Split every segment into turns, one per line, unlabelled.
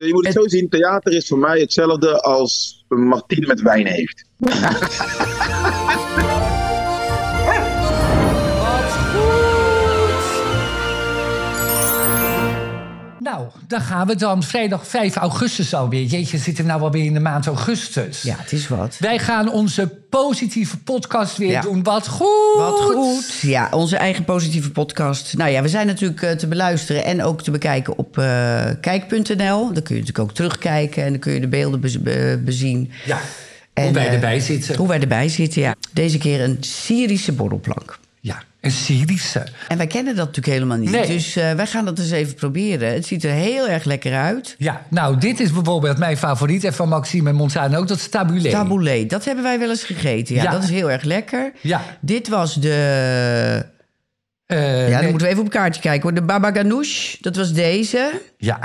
Je moet het zo zien, theater is voor mij hetzelfde als een martine met wijn heeft.
Nou, dan gaan we dan. Vrijdag 5 augustus alweer. Jeetje, zitten we nou alweer in de maand augustus.
Ja, het is wat.
Wij gaan onze positieve podcast weer
Ja.
doen. Wat goed!
Wat goed. Ja, onze eigen positieve podcast. Nou ja, we zijn natuurlijk eh, te beluisteren en ook te bekijken op eh, kijk.nl. Dan kun je natuurlijk ook terugkijken en dan kun je de beelden bez- be- bezien.
Ja,
En,
hoe wij
eh,
erbij zitten.
Hoe wij erbij zitten, ja. Deze keer een Syrische borrelplank.
Ja, een Syrische.
En wij kennen dat natuurlijk helemaal niet.
Nee.
Dus eh, wij gaan dat eens even proberen. Het ziet er heel erg lekker uit.
Ja, nou, dit is bijvoorbeeld mijn favoriet. En van Maxime en Montaan ook, dat is tabulé.
Taboulet, dat hebben wij wel eens gegeten. Ja,
Ja.
dat is heel erg lekker.
Ja.
Dit was de...
Eh,
Ja, dan
nee,
moeten we even op een kaartje kijken hoor. De baba ganoush, dat was deze.
ja.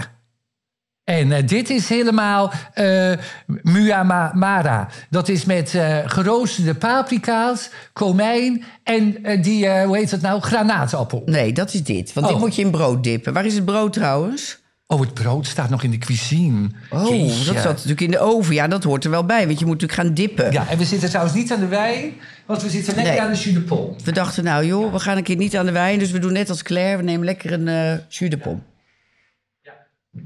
En eh, dit is helemaal eh Muamara. Dat is met eh, geroosterde paprika's, komijn en eh, die, eh, hoe heet dat nou, granaatappel.
Nee, dat is dit. Want
Oh.
dit moet je in brood dippen. Waar is het brood trouwens?
Oh, het brood staat nog in de cuisine.
Oh,
Jeetje.
dat zat natuurlijk in de oven. Ja, dat hoort er wel bij, want je moet natuurlijk gaan dippen.
Ja, en we zitten trouwens niet aan de wijn, want we zitten lekker
Nee.
aan de jus-de-pomme.
We dachten, nou joh, we gaan een keer niet aan de wijn. Dus we doen net als Claire, we nemen lekker een eh jus de pomme.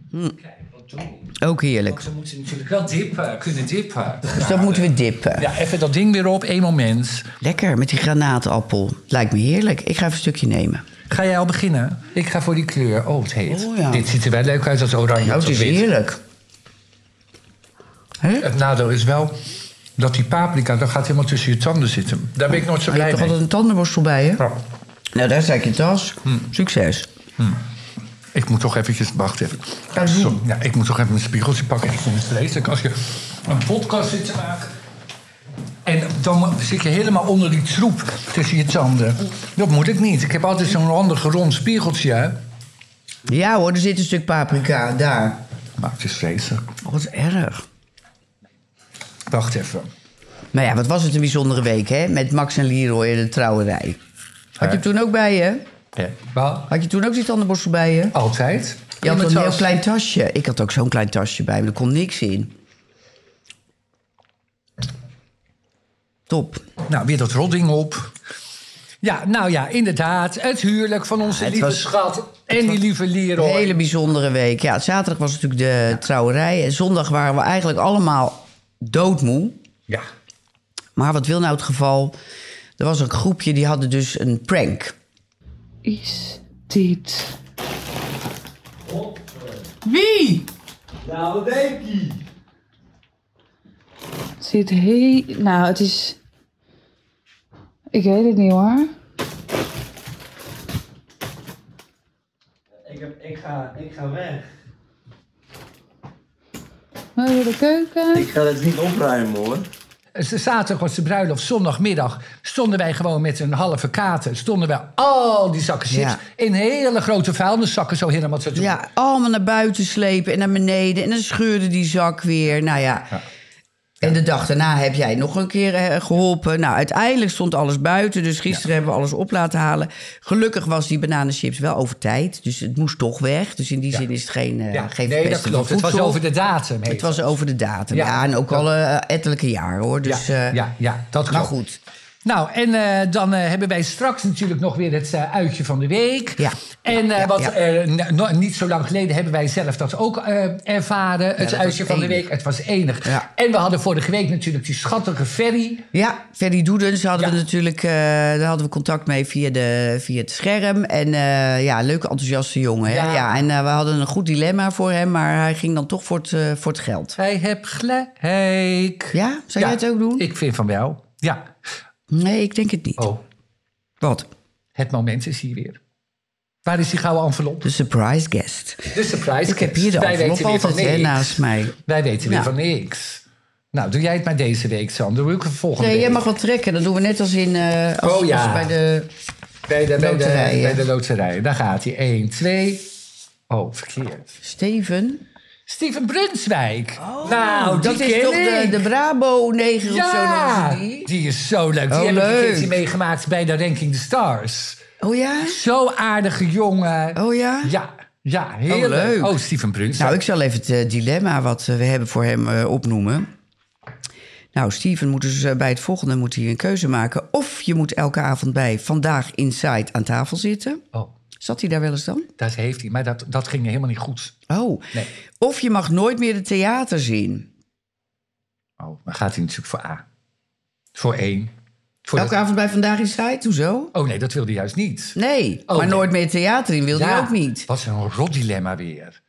Hm.
Kijk, wat doen.
Ook heerlijk.
Want we moeten natuurlijk wel dippen, kunnen dippen.
Dus dat moeten we dippen.
Ja, even dat ding weer op, één moment.
Lekker, met die granaatappel. Lijkt me heerlijk. Ik ga even een stukje nemen.
Ga jij al beginnen? Ik ga voor die kleur. Oh, het heet.
Oh, ja.
Dit ziet er wel leuk uit als oranje.
Oh,
of
het is
wit.
heerlijk. Hè?
Het nadeel is wel dat die paprika, dat gaat helemaal tussen je tanden zitten. Daar ben ik nooit zo
Maar je
blij
hebt toch
mee.
altijd een tandenborstel bij Hm. je?
Nou,
Nou, daar zet je tas. Succes.
ik moet toch eventjes, wacht even.
Ja, doe.
Zo, ja, ik moet toch even mijn spiegeltje pakken. Ik vind het vreselijk als je een podcast zit te maken. En dan zit je helemaal onder die troep tussen je tanden. Dat moet ik niet. Ik heb altijd zo'n handig rond spiegeltje. hè.
Ja hoor, er zit een stuk paprika daar.
Maar het is vreselijk.
Oh, wat erg.
Wacht even.
Maar ja, wat was het een bijzondere week, hè? Met Max en Leroy in de trouwerij. Had je hem toen ook bij je?
Ja. Wel,
Had je toen ook die tandenborstel bij je?
altijd.
Je had
In mijn
een heel
tas.
klein tasje. Ik had ook zo'n klein tasje bij me. Er kon niks in. Top.
Nou, weer dat rotding op. Ja, nou ja, inderdaad. Het huwelijk van onze
het
lieve
was-
schat en die lieve Leroy.
Een hele bijzondere week. Ja, zaterdag was natuurlijk de trouwerij. En zondag waren we eigenlijk allemaal doodmoe.
Ja.
Maar wat wil nou het geval? Er was een groepje die hadden dus een prank.
is dit? Wie?
Nou, wat denk je?
Het zit heel... Nou, het is... Ik weet het niet hoor.
Ik, heb, ik, ga, ik ga weg.
Naar de keuken.
Ik ga dit niet opruimen hoor.
Zaterdag was de bruiloft, zondagmiddag stonden wij gewoon met een halve kater. Stonden wij al die zakken chips
Ja.
in hele grote vuilniszakken zo helemaal te doen.
Ja, allemaal naar buiten slepen en naar beneden. En dan scheurde die zak weer. Nou ja. En de dag daarna heb jij nog een keer eh, geholpen. Nou, uiteindelijk stond alles buiten. Dus gisteren hebben we alles op laten halen. Gelukkig was die bananenchips wel over tijd. Dus het moest toch weg. Dus in die zin is het geen, eh
Ja,
geen
nee, dat
verpesting van
klopt. Het was
voedsel.
over de datum. heet
Het was over de datum.
Ja,
Ja, en ook
dat-
al eh, ettelijke jaren hoor.
Ja,
Dus,
ja,
eh,
ja, dat klopt.
Maar goed.
Nou, en eh, dan eh, hebben wij straks natuurlijk nog weer het eh, uitje van de week.
Ja.
En eh,
Ja,
wat
ja.
eh, n- no- niet zo lang geleden hebben wij zelf dat ook eh, ervaren. het
was
uitje van de
enig.
week. Het was enig.
Ja.
En we hadden vorige week natuurlijk die schattige ferry.
Ja, Ferry Doedens hadden
Ja.
we natuurlijk, eh, daar hadden we contact mee via, de, via het scherm. En eh, ja, leuke, enthousiaste jongen. Hè?
Ja.
Ja. en eh, we hadden een goed dilemma voor hem, maar hij ging dan toch voor het, eh, voor het geld.
Hij hebt gelijk.
Ja? Zou jij het ook doen?
Ik vind van wel. Ja.
Nee, ik denk het niet.
Oh,
Wat?
het moment is hier weer. Waar is die gouden envelop?
De surprise guest.
De surprise.
Ik heb hier de
Wij
envelop
weten weer van
altijd hè,
niks.
naast mij.
Wij weten weer
Ja.
van niks. Nou, doe jij het maar deze week, Sander. Doe ik het volgende
Nee, jij
week.
mag wat trekken. Dat doen we net als in... eh, als,
Oh, ja.
als bij de...
Bij de, bij de,
Loterij, hè?
bij de loterij. Daar gaat hij. 1, 2. Oh, verkeerd.
Steven.
Steven Brunswijk. nou,
dat
die
Oh, is
ken
toch de,
ik.
de Brabo 9 of zo
ja,
noemen ze die?
die is zo leuk. Die
Oh,
hebben we een keertje
leuk.
meegemaakt bij de Ranking the Stars.
Oh ja?
Zo aardige jongen.
Oh ja?
Ja, Ja, heel
Oh, leuk.
leuk. Oh, Steven Prins.
Nou, ik zal even het eh, dilemma wat eh, we hebben voor hem eh, opnoemen. Nou, Steven moet dus eh, bij het volgende moet hij een keuze maken. Of je moet elke avond bij Vandaag Inside aan tafel zitten.
Oh,
Zat hij daar wel eens dan?
dat heeft hij. Maar dat, dat ging helemaal niet goed.
Oh.
Nee.
Of je mag nooit meer de theaters in.
Oh, dan gaat hij natuurlijk voor A. Voor één. Voor
Elke
dat-
avond bij Vandaag Inside? Hoezo?
Oh nee, dat wilde hij juist niet.
Nee,
Oh,
maar
nee.
nooit meer het theater in wilde hij ook niet.
Wat een rot dilemma weer.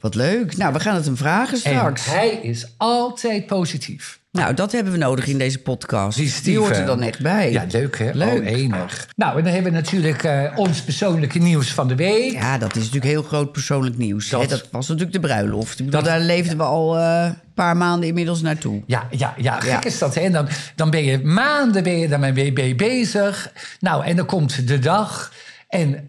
Wat leuk. Nou, we gaan het hem vragen straks.
En hij is altijd positief.
Nou, dat hebben we nodig in deze podcast.
Die
Die,
Steven.
hoort er dan echt bij.
Ja, leuk hè?
Leuk.
Oh, enig. Nou, en dan hebben we natuurlijk eh, ons persoonlijke nieuws van de week.
Ja, dat is natuurlijk heel groot persoonlijk nieuws. hè.
Dat-
Dat, was natuurlijk de bruiloft. Ik bedoel,
Dat-
daar leefden we al eh, een paar maanden inmiddels naartoe.
Ja, ja, ja, gek
Ja.
is dat. Hè? En dan, dan ben je maanden ben je daarmee mee bezig. Nou, en dan komt de dag. En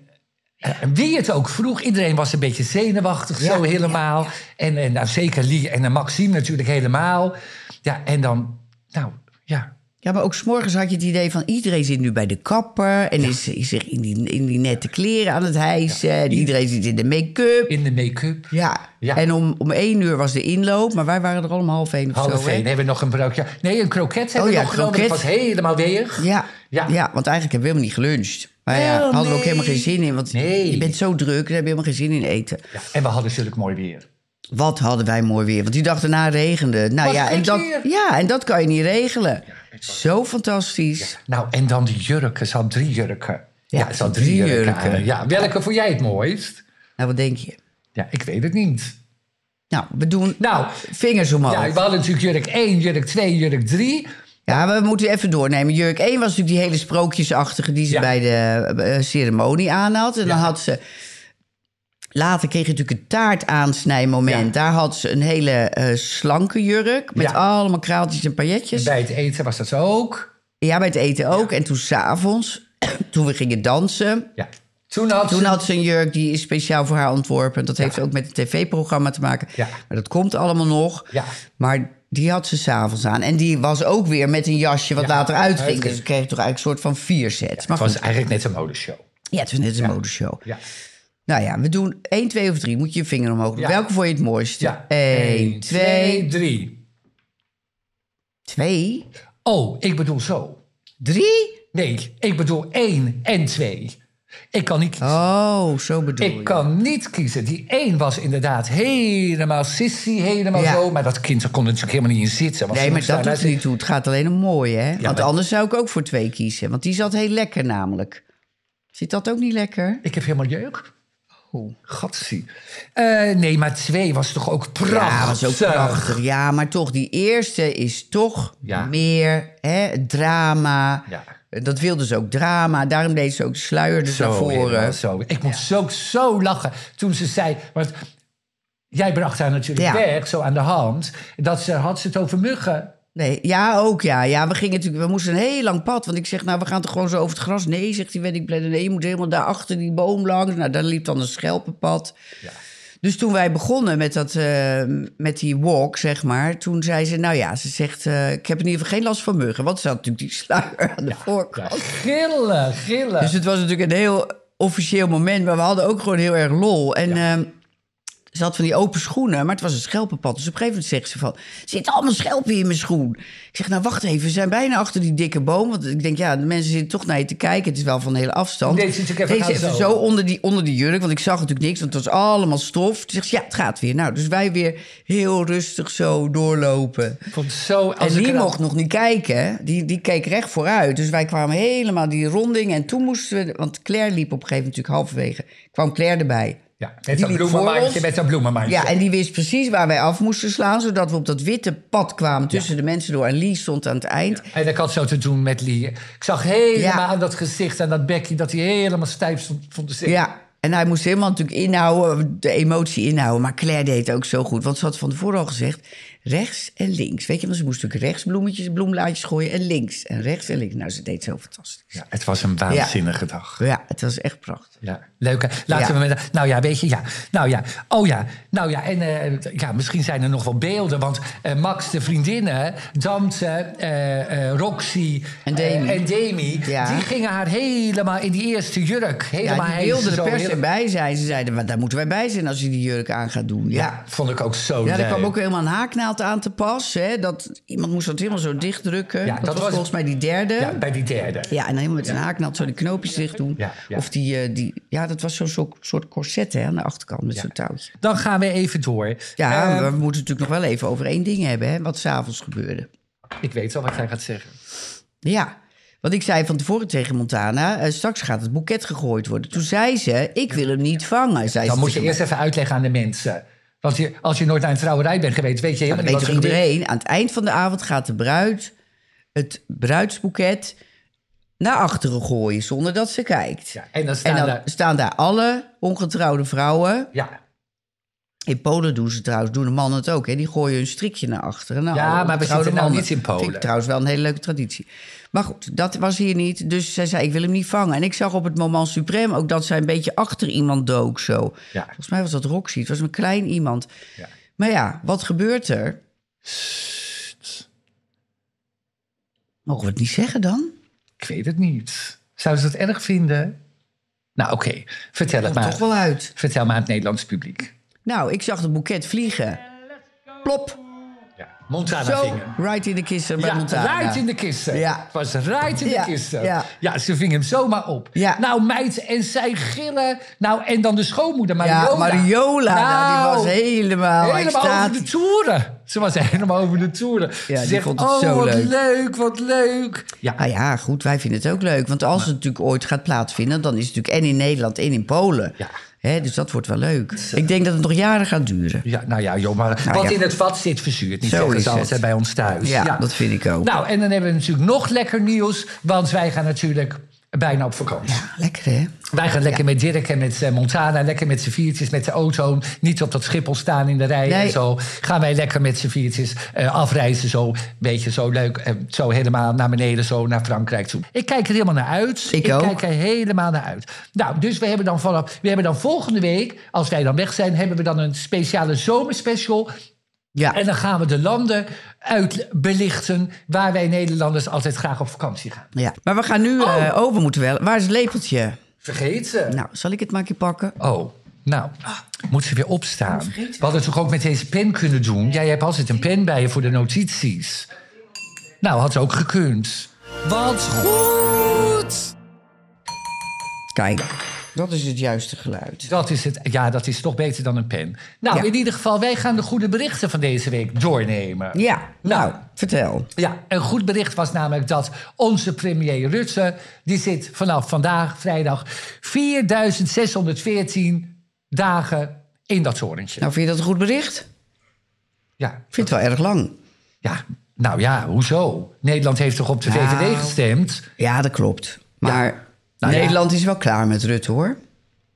eh, wie het ook vroeg, iedereen was een beetje zenuwachtig, zo helemaal. En, en nou, zeker Lee en eh, Maxime natuurlijk helemaal. Ja, en dan, nou, ja.
Ja, maar ook s'morgens had je het idee van iedereen zit nu bij de kapper... en is, is zich in die, in die nette kleren aan het hijsen. En iedereen zit in de make-up.
In de make-up.
Ja.
Ja.
En om, om één uur was de inloop, maar wij waren er al om half één of
Half
zo. hè?
één hebben we nog een broodje. Nee, een kroket hebben
Oh
we
ja,
nog genomen. Dat
kroket.
was helemaal weer.
Ja.
Ja.
Ja. want eigenlijk hebben we helemaal niet geluncht. Maar ja,
Oh,
hadden we ook
nee.
helemaal geen zin in. Want
Nee.
je bent zo druk, daar heb je helemaal geen zin in eten.
Ja, En we hadden zulk mooi weer.
Wat hadden wij mooi weer. Want die dag daarna regende. het. Nou
Was
ja, en
gek
dat,
weer.
ja, en dat kan je niet regelen. zo fantastisch.
Nou, en dan die jurken. Ze had drie jurken. Ja,
Ja,
ze had drie,
drie
jurken.
jurken.
aan. Ja, welke vond jij het mooist?
Nou, wat denk je?
Ja, ik weet het niet.
Nou, we doen
Nou,
vingers omhoog.
ja,
Ja,
we hadden natuurlijk jurk 1, jurk 2, jurk 3.
we moeten even doornemen. Jurk 1 was natuurlijk die hele sprookjesachtige die ze
Ja.
bij de eh, ceremonie aan had. En dan
Ja.
had ze... Later kreeg je natuurlijk een taartaansnijmoment.
Ja.
Daar had ze een hele eh, slanke jurk met
Ja.
allemaal kraaltjes en pailletjes.
Bij het eten was dat zo ook.
Ja, bij het eten ook. En toen s'avonds, toen we gingen dansen...
Ja. Toen had
Toen
ze...
had ze een jurk die is speciaal voor haar ontworpen. Dat heeft ook met het tv-programma te maken.
Ja.
Maar dat komt allemaal nog.
Ja.
Maar die had ze s'avonds aan. En die was ook weer met een jasje wat
Ja,
later uitging.
uitging.
Dus ze kreeg toch eigenlijk een soort van vier sets.
Het
maar
was
goed,
eigenlijk net een modeshow.
ja, het was net een modeshow.
Ja.
Nou ja, we doen 1, 2 of 3. Moet je je vinger omhoog doen.
Ja.
Welke vond je het mooiste?
ja.
1,
Eén,
2,
twee, drie.
2,
Oh, ik bedoel zo.
3.
Nee, ik bedoel 1 en 2. Ik kan niet kiezen.
Oh, zo bedoel je.
Ik kan niet kiezen. Die één was inderdaad helemaal sissy, helemaal
Ja.
zo. Maar dat kind kon er natuurlijk helemaal niet in zitten. Want
Nee,
ze
maar
moest
dat
daar
doet er
naar
niet toe. Het gaat alleen om mooi, hè? Want
maar-
anders zou ik ook voor twee kiezen. Want die zat heel lekker namelijk. Zit dat ook niet lekker?
zitten. Ik heb helemaal jeuk.
Oeh.
Gatsie. Eh, nee, maar twee was toch ook prachtig.
Oh. Ja, was ook prachtig. Ja, maar toch, die eerste is toch
Ja.
meer hè, drama.
Ja.
Dat wilde ze ook drama. Daarom deed ze ook de sluier dus
Zo,
naar voren.
helemaal zo. Ik moest zo, zo lachen toen ze zei... Want jij bracht haar natuurlijk
Ja.
weg, zo aan de hand. Dat ze, had ze het over muggen.
Nee, ja, ook ja. ja we, gingen natuurlijk, we moesten een heel lang pad. Want ik zeg, nou, we gaan toch gewoon zo over het gras? Nee, zegt die wedding planner. Nee, je moet helemaal daar achter die boom langs. Nou, daar liep dan een schelpenpad. Dus toen wij begonnen met, dat, eh, met die walk, zeg maar... toen zei ze, nou ja, ze zegt... eh, ik heb in ieder geval geen last van muggen. Want ze had natuurlijk die sluier aan de
Ja,
voorkant.
gillen, gillen.
Dus het was natuurlijk een heel officieel moment. Maar we hadden ook gewoon heel erg lol. En ehm, ze had van die open schoenen, maar het was een schelpenpad. Dus op een gegeven moment zegt ze van... Er zitten allemaal schelpen in mijn schoen. Ik zeg, nou wacht even, we zijn bijna achter die dikke boom. Want ik denk, ja, de mensen zitten toch naar je te kijken. Het is wel van een hele afstand.
Deed ze natuurlijk even
Deed ze
gaan
even
zo.
zo onder die, onder die jurk, want ik zag natuurlijk niks. Want het was allemaal stof. Toen zegt ze, ja, het gaat weer. Nou, dus wij weer heel rustig zo doorlopen.
Ik vond het zo... als
En
ik
die
eraan-
mocht nog niet kijken. Die, die keek recht vooruit. Dus wij kwamen helemaal die ronding. En toen moesten we... Want Claire liep op een gegeven moment natuurlijk halverwege. Kwam Claire erbij.
Ja,
Die
met dat
liep voor
bloemenmandje,
ons.
met dat bloemenmandje.
Ja, en die wist precies waar wij af moesten slaan. Zodat we op dat witte pad kwamen tussen de mensen door. En Lee stond aan het eind.
En ik had zo te doen met Lee. Ik zag helemaal
Ja.
aan dat gezicht en dat bekje dat hij helemaal stijf stond van de zin.
Ja. En hij moest helemaal natuurlijk inhouden, de emotie inhouden. Maar Claire deed het ook zo goed. Want ze had van tevoren al gezegd, rechts en links. Weet je, want ze moest natuurlijk rechts bloemetjes, bloemlaadjes gooien en links. En rechts en links. Nou, ze deed zo fantastisch.
Ja, het was een waanzinnige dag.
Ja, het was echt prachtig.
Ja. Leuk, hè? Laten
Ja.
we met, nou ja, weet je, ja. Nou ja, oh ja, nou ja. En eh, ja, misschien zijn er nog wel beelden. Want eh, Max, de vriendinnen, Damse, eh, eh, Roxy
En Demi.
eh, en Demi
Ja.
die gingen haar helemaal in die eerste jurk. Helemaal
Ja, die
heen,
wilde
zo
de pers
heel-
erbij zijn. Ze zeiden, "Wat, daar moeten wij bij zijn als je die jurk aan gaat doen. Ja,
Vond ik ook zo
ja
leuk.
daar kwam ook helemaal een haaknaald aan te pas. Hè? Dat, iemand moest dat helemaal zo dichtdrukken.
Ja,
dat,
dat
was,
was-
volgens mij die derde.
ja,
Ja,
bij die derde.
en dan helemaal met een haaknaald zo die knoopjes dicht doen.
Ja, ja.
Of die, eh, die, ja, dat was zo'n soort, soort corset hè, aan de achterkant met zo'n touwtje.
Dan gaan we even door.
Ja,
Eh,
maar we moeten natuurlijk nog wel even over één ding hebben, hè, wat s'avonds gebeurde.
ik weet al wat jij gaat zeggen.
Ja, want ik zei van tevoren tegen Montana, eh, straks gaat het boeket gegooid worden. Toen zei ze, ik wil hem niet vangen. Zei
Dan
ze
moet je
tegen
eerst even uitleggen aan de mensen. Want je, als je nooit naar een trouwerij bent geweest, weet je
Maar
helemaal
dat
niet
weet toch
wat er gebeurt.
iedereen. Aan het eind van de avond gaat de bruid het bruidsboeket naar achteren gooien zonder dat ze kijkt.
Ja, en dan
en
staan
dan
daar...
staan daar alle ongetrouwde vrouwen.
Ja,
In Polen doen ze trouwens, doen de mannen het ook. Hè? Die gooien hun strikje naar achteren. Nou,
Ja,
alle
maar we
ongetrouwde
zitten nou
mannen.
niet in Polen.
Vind ik trouwens wel een hele leuke traditie. Maar goed, dat was hier niet. Dus zij zei, ik wil hem niet vangen. En ik zag op het moment suprem ook dat zij een beetje achter iemand dook zo.
Ja.
Volgens mij was dat Roxy. Het was een klein iemand.
Ja.
Maar ja, wat gebeurt er? Mogen we het niet zeggen dan?
ik weet het niet. Zouden ze dat erg vinden? Nou, oké. Vertel het
Komt
maar.
toch wel uit.
Vertel maar aan het Nederlands publiek.
Nou, ik zag het boeket vliegen. Plop,
Ja. Montana
zo,
vingen.
right in de kisten bij
Ja,
Montana.
right in de kisten.
Ja.
Het was right in
Ja,
de kisten.
ja.
Ja. ze ving hem zomaar op.
Ja.
Nou, meid, en zij gillen. Nou, en dan de schoonmoeder, Mariola.
Ja, Mariola, nou, die was
Nou,
helemaal,
Helemaal
extatisch.
over de toeren. Ze was helemaal over de toeren.
Ja,
ze
die
zegt,
vond het
oh,
zo
wat
leuk."
wat leuk. Ah, Ja,
Nou ja, goed, wij vinden het ook leuk. Want als het natuurlijk ooit gaat plaatsvinden... dan is het natuurlijk en in Nederland en in Polen.
Ja.
Hè, dus dat wordt wel leuk. Ik denk dat het nog jaren gaat duren.
ja nou ja, joh, maar
Nou
wat
ja.
in het vat zit verzuurt. Niet
Zo
zeggen
is
ze
het.
altijd bij ons thuis.
Ja, dat vind ik ook.
Nou, en dan hebben we natuurlijk nog lekker nieuws. Want wij gaan natuurlijk bijna op vakantie.
Lekker, hè?
Wij gaan lekker met Dirk en met eh, Montana, lekker met z'n viertjes, met de auto. Niet op dat Schiphol staan in de rij
Nee.
en zo. Gaan wij lekker met z'n viertjes eh, afreizen, zo. Beetje zo leuk, eh, zo helemaal naar beneden, zo naar Frankrijk toe. Ik kijk er helemaal naar uit.
Ik ook.
kijk er helemaal naar uit. Nou, dus we hebben dan vanaf, we hebben dan volgende week, als wij dan weg zijn, hebben we dan een speciale zomerspecial.
Ja,
En dan gaan we de landen uit belichten waar wij Nederlanders altijd graag op vakantie gaan.
ja. maar we gaan nu
Oh.
eh, over moeten wel. Waar is het lepeltje?
Vergeet ze.
Nou, zal ik het maar een keer pakken?
Oh, nou, moet ze weer opstaan. We hadden toch ook met deze pen kunnen doen? Jij hebt altijd een pen bij je voor de notities. Nou, had ze ook gekund. Wat goed!
Kijk, dat is het juiste geluid.
Dat is het. Ja, dat is toch beter dan een pen. Nou,
Ja.
in ieder geval, wij gaan de goede berichten van deze week doornemen.
Ja, nou,
Nou.
vertel.
Ja, een goed bericht was namelijk dat onze premier Rutte... die zit vanaf vandaag, vrijdag, 4614 dagen in dat torentje.
Nou, vind je dat een goed bericht?
Ja,
Ik vind het wel erg lang.
Ja, nou ja, hoezo? Nederland heeft toch op de
Nou.
VVD gestemd?
Ja, dat klopt. Maar
Nou ja.
Nederland is wel klaar met Rutte, hoor.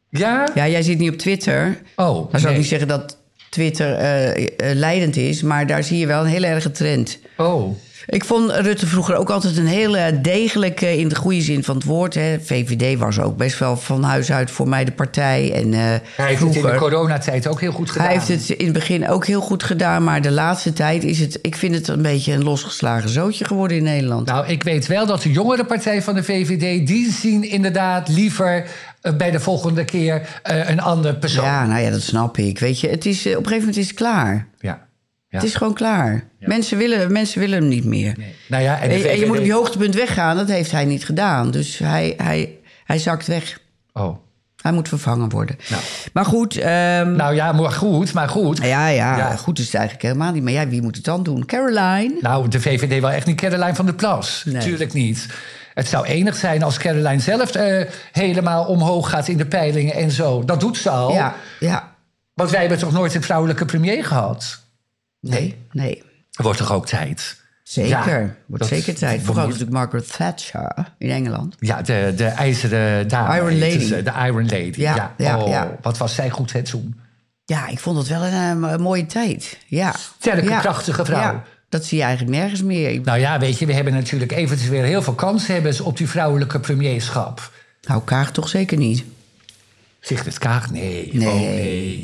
Ja?
Ja, jij zit niet op Twitter.
Oh,
Dan zou
nee.
ik niet zeggen dat Twitter eh, eh, leidend is, maar daar zie je wel een hele erge trend.
Oh,
Ik vond Rutte vroeger ook altijd een hele degelijke, eh, in de goede zin van het woord. Hè. VVD was ook best wel van huis uit voor mij de partij. En, eh,
hij heeft het in de
vroeger-
coronatijd ook heel goed gedaan.
hij heeft het in het begin ook heel goed gedaan, maar de laatste tijd is het, ik vind het een beetje een losgeslagen zootje geworden in Nederland.
Nou, ik weet wel dat de jongere partij van de VVD... die zien inderdaad liever eh, bij de volgende keer eh, een ander persoon.
ja, nou ja, dat snap ik. Weet je, het is, eh, op een gegeven moment is het klaar.
ja.
Het is gewoon klaar. Mensen, willen, mensen willen hem niet meer.
Nou ja, en de
En, en je
VVD
moet op je hoogtepunt weggaan, dat heeft hij niet gedaan. Dus hij, hij, hij zakt weg.
Oh.
Hij moet vervangen worden. Maar goed, ehm,
Nou ja, maar goed, maar goed.
ja, ja,
Ja.
goed is het eigenlijk helemaal niet. Maar ja, wie moet het dan doen? Caroline?
Nou, de VVD wil echt niet Caroline van der Plas.
Nee.
Tuurlijk niet. Het zou enig zijn als Caroline zelf eh, helemaal omhoog gaat in de peilingen en zo. Dat doet ze al.
Ja, ja.
Want wij hebben toch nooit een vrouwelijke premier gehad?
Nee, nee.
Wordt toch ook tijd?
Zeker.
Ja,
Wordt
dat-
zeker tijd.
we
Vooral
moeten-
natuurlijk Margaret Thatcher in Engeland.
Ja, de, de ijzeren dame.
Iron
heette
Lady.
ze, De Iron Lady.
Ja,
Ja,
ja,
Oh,
ja.
Wat was zij goed het toen?
Ja, ik vond het wel een, eh, mooie tijd. Ja.
Sterke,
Ja.
krachtige vrouw.
Ja, dat zie je eigenlijk nergens meer. Ik-
Nou ja, weet je, we hebben natuurlijk eventjes weer heel veel kanshebbers op die vrouwelijke premierschap.
Nou, Kaag toch zeker niet.
Zegt het Kaag? Nee.
Nee,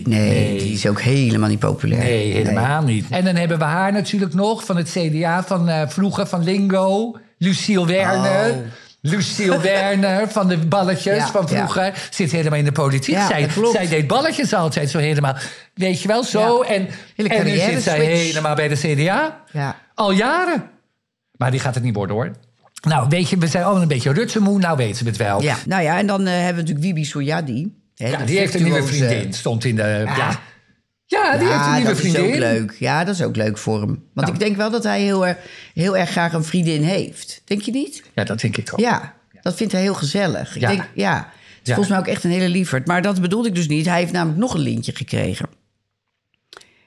oh,
nee, die is ook helemaal niet populair.
Nee, helemaal niet. En dan hebben we haar natuurlijk nog van het CDA van eh, vroeger, van Lingo. Luciel Werner. Luciel Werner van de balletjes
Oh. Ja,
van vroeger. Zit helemaal in de politiek.
Ja,
zij,
dat klopt.
zij deed balletjes altijd zo helemaal. Weet je wel, zo.
Ja.
En,
Hele
en nu
carrière
zit zij
switch.
helemaal bij de CDA.
Ja.
Al jaren. Maar die gaat het niet worden hoor. Nou, weet je, we zijn allemaal een beetje rutsemoe. Nou weten we het wel.
ja. Nou ja, en dan eh, hebben we natuurlijk Wibi Soyadi. hè,
Ja,
de
die heeft een nieuwe
virtuose.
vriendin. Stond in de... Ja, ja. die heeft
Ja,
een nieuwe
dat
vriendin.
is ook leuk. Ja, dat is ook leuk voor hem. Want
Nou.
ik denk wel dat hij heel erg, heel erg graag een vriendin heeft. Denk je niet?
Ja, dat denk ik ook.
Ja, dat vindt hij heel gezellig. Ik
Ja.
denk, ja. Het is
Ja.
volgens mij ook echt een hele lieverd. Maar dat bedoelde ik dus niet. Hij heeft namelijk nog een lintje gekregen.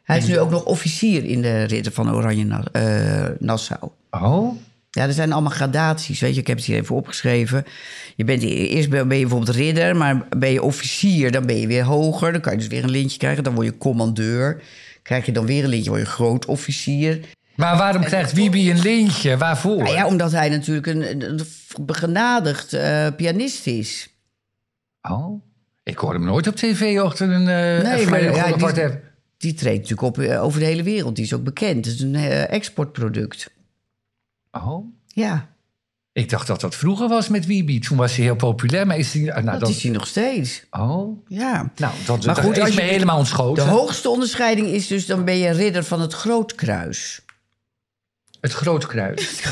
Hij is nu ook nog officier in de Ridder van Oranje Na- eh, Nassau.
Oh.
Ja, er zijn allemaal gradaties. Weet je, ik heb het hier even opgeschreven. Je bent, eerst ben ben je bijvoorbeeld ridder, maar ben je officier, dan ben je weer hoger. Dan kan je dus weer een lintje krijgen. Dan word je commandeur. Krijg je dan weer een lintje, word je groot officier.
Maar waarom krijgt Wiebe een lintje? Waarvoor?
Nou ja, omdat hij natuurlijk een, een- een begenadigd eh, pianist is.
Oh. Ik hoor hem nooit op tv achter een... eh
Nee,
een
maar
vleugel
ja,
of
die-
wat heb-
Die treedt natuurlijk op eh, over de hele wereld. Die is ook bekend. Het is een eh, exportproduct.
Oh.
Ja,
Ik dacht dat dat vroeger was met Wiebe. Toen was hij heel populair, maar is hij... ah, Nou,
dat,
dat
is hij nog steeds.
Oh.
Ja.
Nou, dat,
Maar
dat
goed, als
is me
je-
helemaal
De
ontschoten.
hoogste onderscheiding is dus, dan ben je ridder van het Grootkruis.
Het Groot Kruis.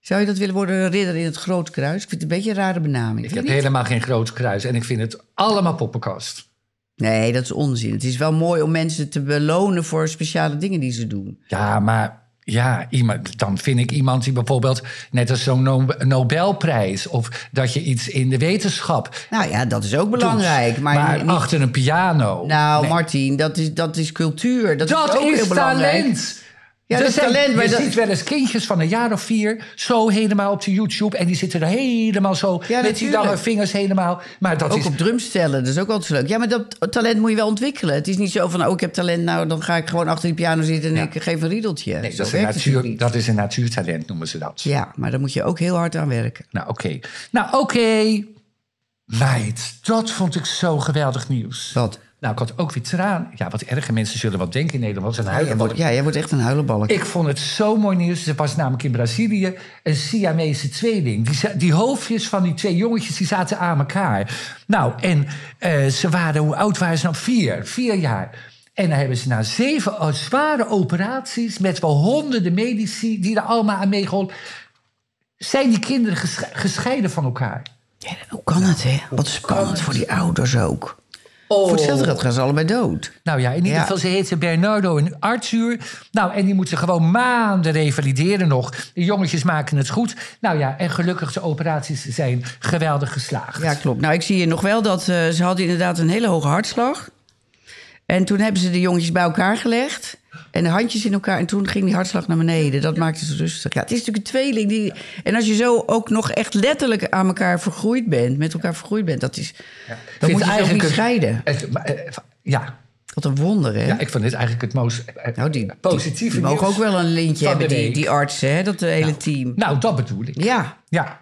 Zou je dat willen worden, een ridder in het Grootkruis? Ik vind het een beetje een rare benaming.
ik
vind
heb
je niet?
helemaal geen Groot Kruis. En ik vind het allemaal poppenkast.
Nee, dat is onzin. Het is wel mooi om mensen te belonen voor speciale dingen die ze doen.
Ja, maar... Ja, iemand, dan vind ik iemand die bijvoorbeeld... net als zo'n No- Nobelprijs... of dat je iets in de wetenschap
Nou ja, dat is ook belangrijk. Maar,
maar
niet-
achter een piano.
nou, Martin, dat is, dat is cultuur. Dat,
dat
is ook
is,
heel belangrijk.
talent.
Ja,
Er
dat is
zijn-
talent, maar
je
dat-
ziet wel eens kindjes van een jaar of vier zo helemaal op de YouTube. En die zitten er helemaal zo met die
natuurlijk.
lange vingers helemaal. Maar dat
Ook
is...
op drumstellen, dat is ook altijd zo leuk. Ja, maar dat talent moet je wel ontwikkelen. Het is niet zo van, oh, ik heb talent, nou, dan ga ik gewoon achter die piano zitten en
Ja.
ik geef een riedeltje.
Nee,
Zo
dat, is een
werkt het
natuur,
niet.
dat is een natuurtalent, noemen ze dat.
Ja, maar daar moet je ook heel hard aan werken.
Nou, oké. Nou, oké. Meid, dat vond ik zo geweldig nieuws.
Wat?
Nou, ik had ook weer traan. Ja, wat erger mensen zullen wat denken in Nederland.
Nou,
Ze huilen wat
Ja, jij wordt echt een huilenbalk.
Ik vond het zo mooi nieuws. Er was namelijk in Brazilië een Siamese tweeling. Die, za- die hoofdjes van die twee jongetjes die zaten aan elkaar. Nou, en eh, ze waren, hoe oud waren ze nou? Vier, vier jaar. En dan hebben ze na zeven eh, zware operaties met wel honderden medici die er allemaal aan meegeholpen. Zijn die kinderen gesche- gescheiden van elkaar?
Ja, hoe kan het, hè? Wat spannend voor die ouders ook.
Oh.
Voor hetzelfde geld gaan ze allebei dood.
Nou ja, in ieder
Ja.
geval, ze heten Bernardo en Arthur. Nou, en die moeten gewoon maanden revalideren nog. De jongetjes maken het goed. Nou ja, en gelukkig, de operaties zijn geweldig geslaagd.
Ja, klopt. Nou, ik zie hier nog wel dat eh, ze hadden inderdaad een hele hoge hartslag. En toen hebben ze de jongetjes bij elkaar gelegd. En de handjes in elkaar. En toen ging die hartslag naar beneden. Dat maakte ze rustig. Ja, het is natuurlijk een tweeling. Die... En als je zo ook nog echt letterlijk aan elkaar vergroeid bent. Met elkaar vergroeid bent. Dat is...
Ik
Dan
vind
moet je ze ook
eigenlijk
niet
het-
scheiden.
het- maar, eh, ja,
Wat een wonder, hè?
ja, ik vind dit eigenlijk het mooiste. eh,
nou, die,
positieve
die, die mogen
nieuws
ook wel een lintje
van de
hebben, die,
week.
die artsen. Hè? Dat eh, hele team.
Nou, dat bedoel ik.
Ja.
Ja.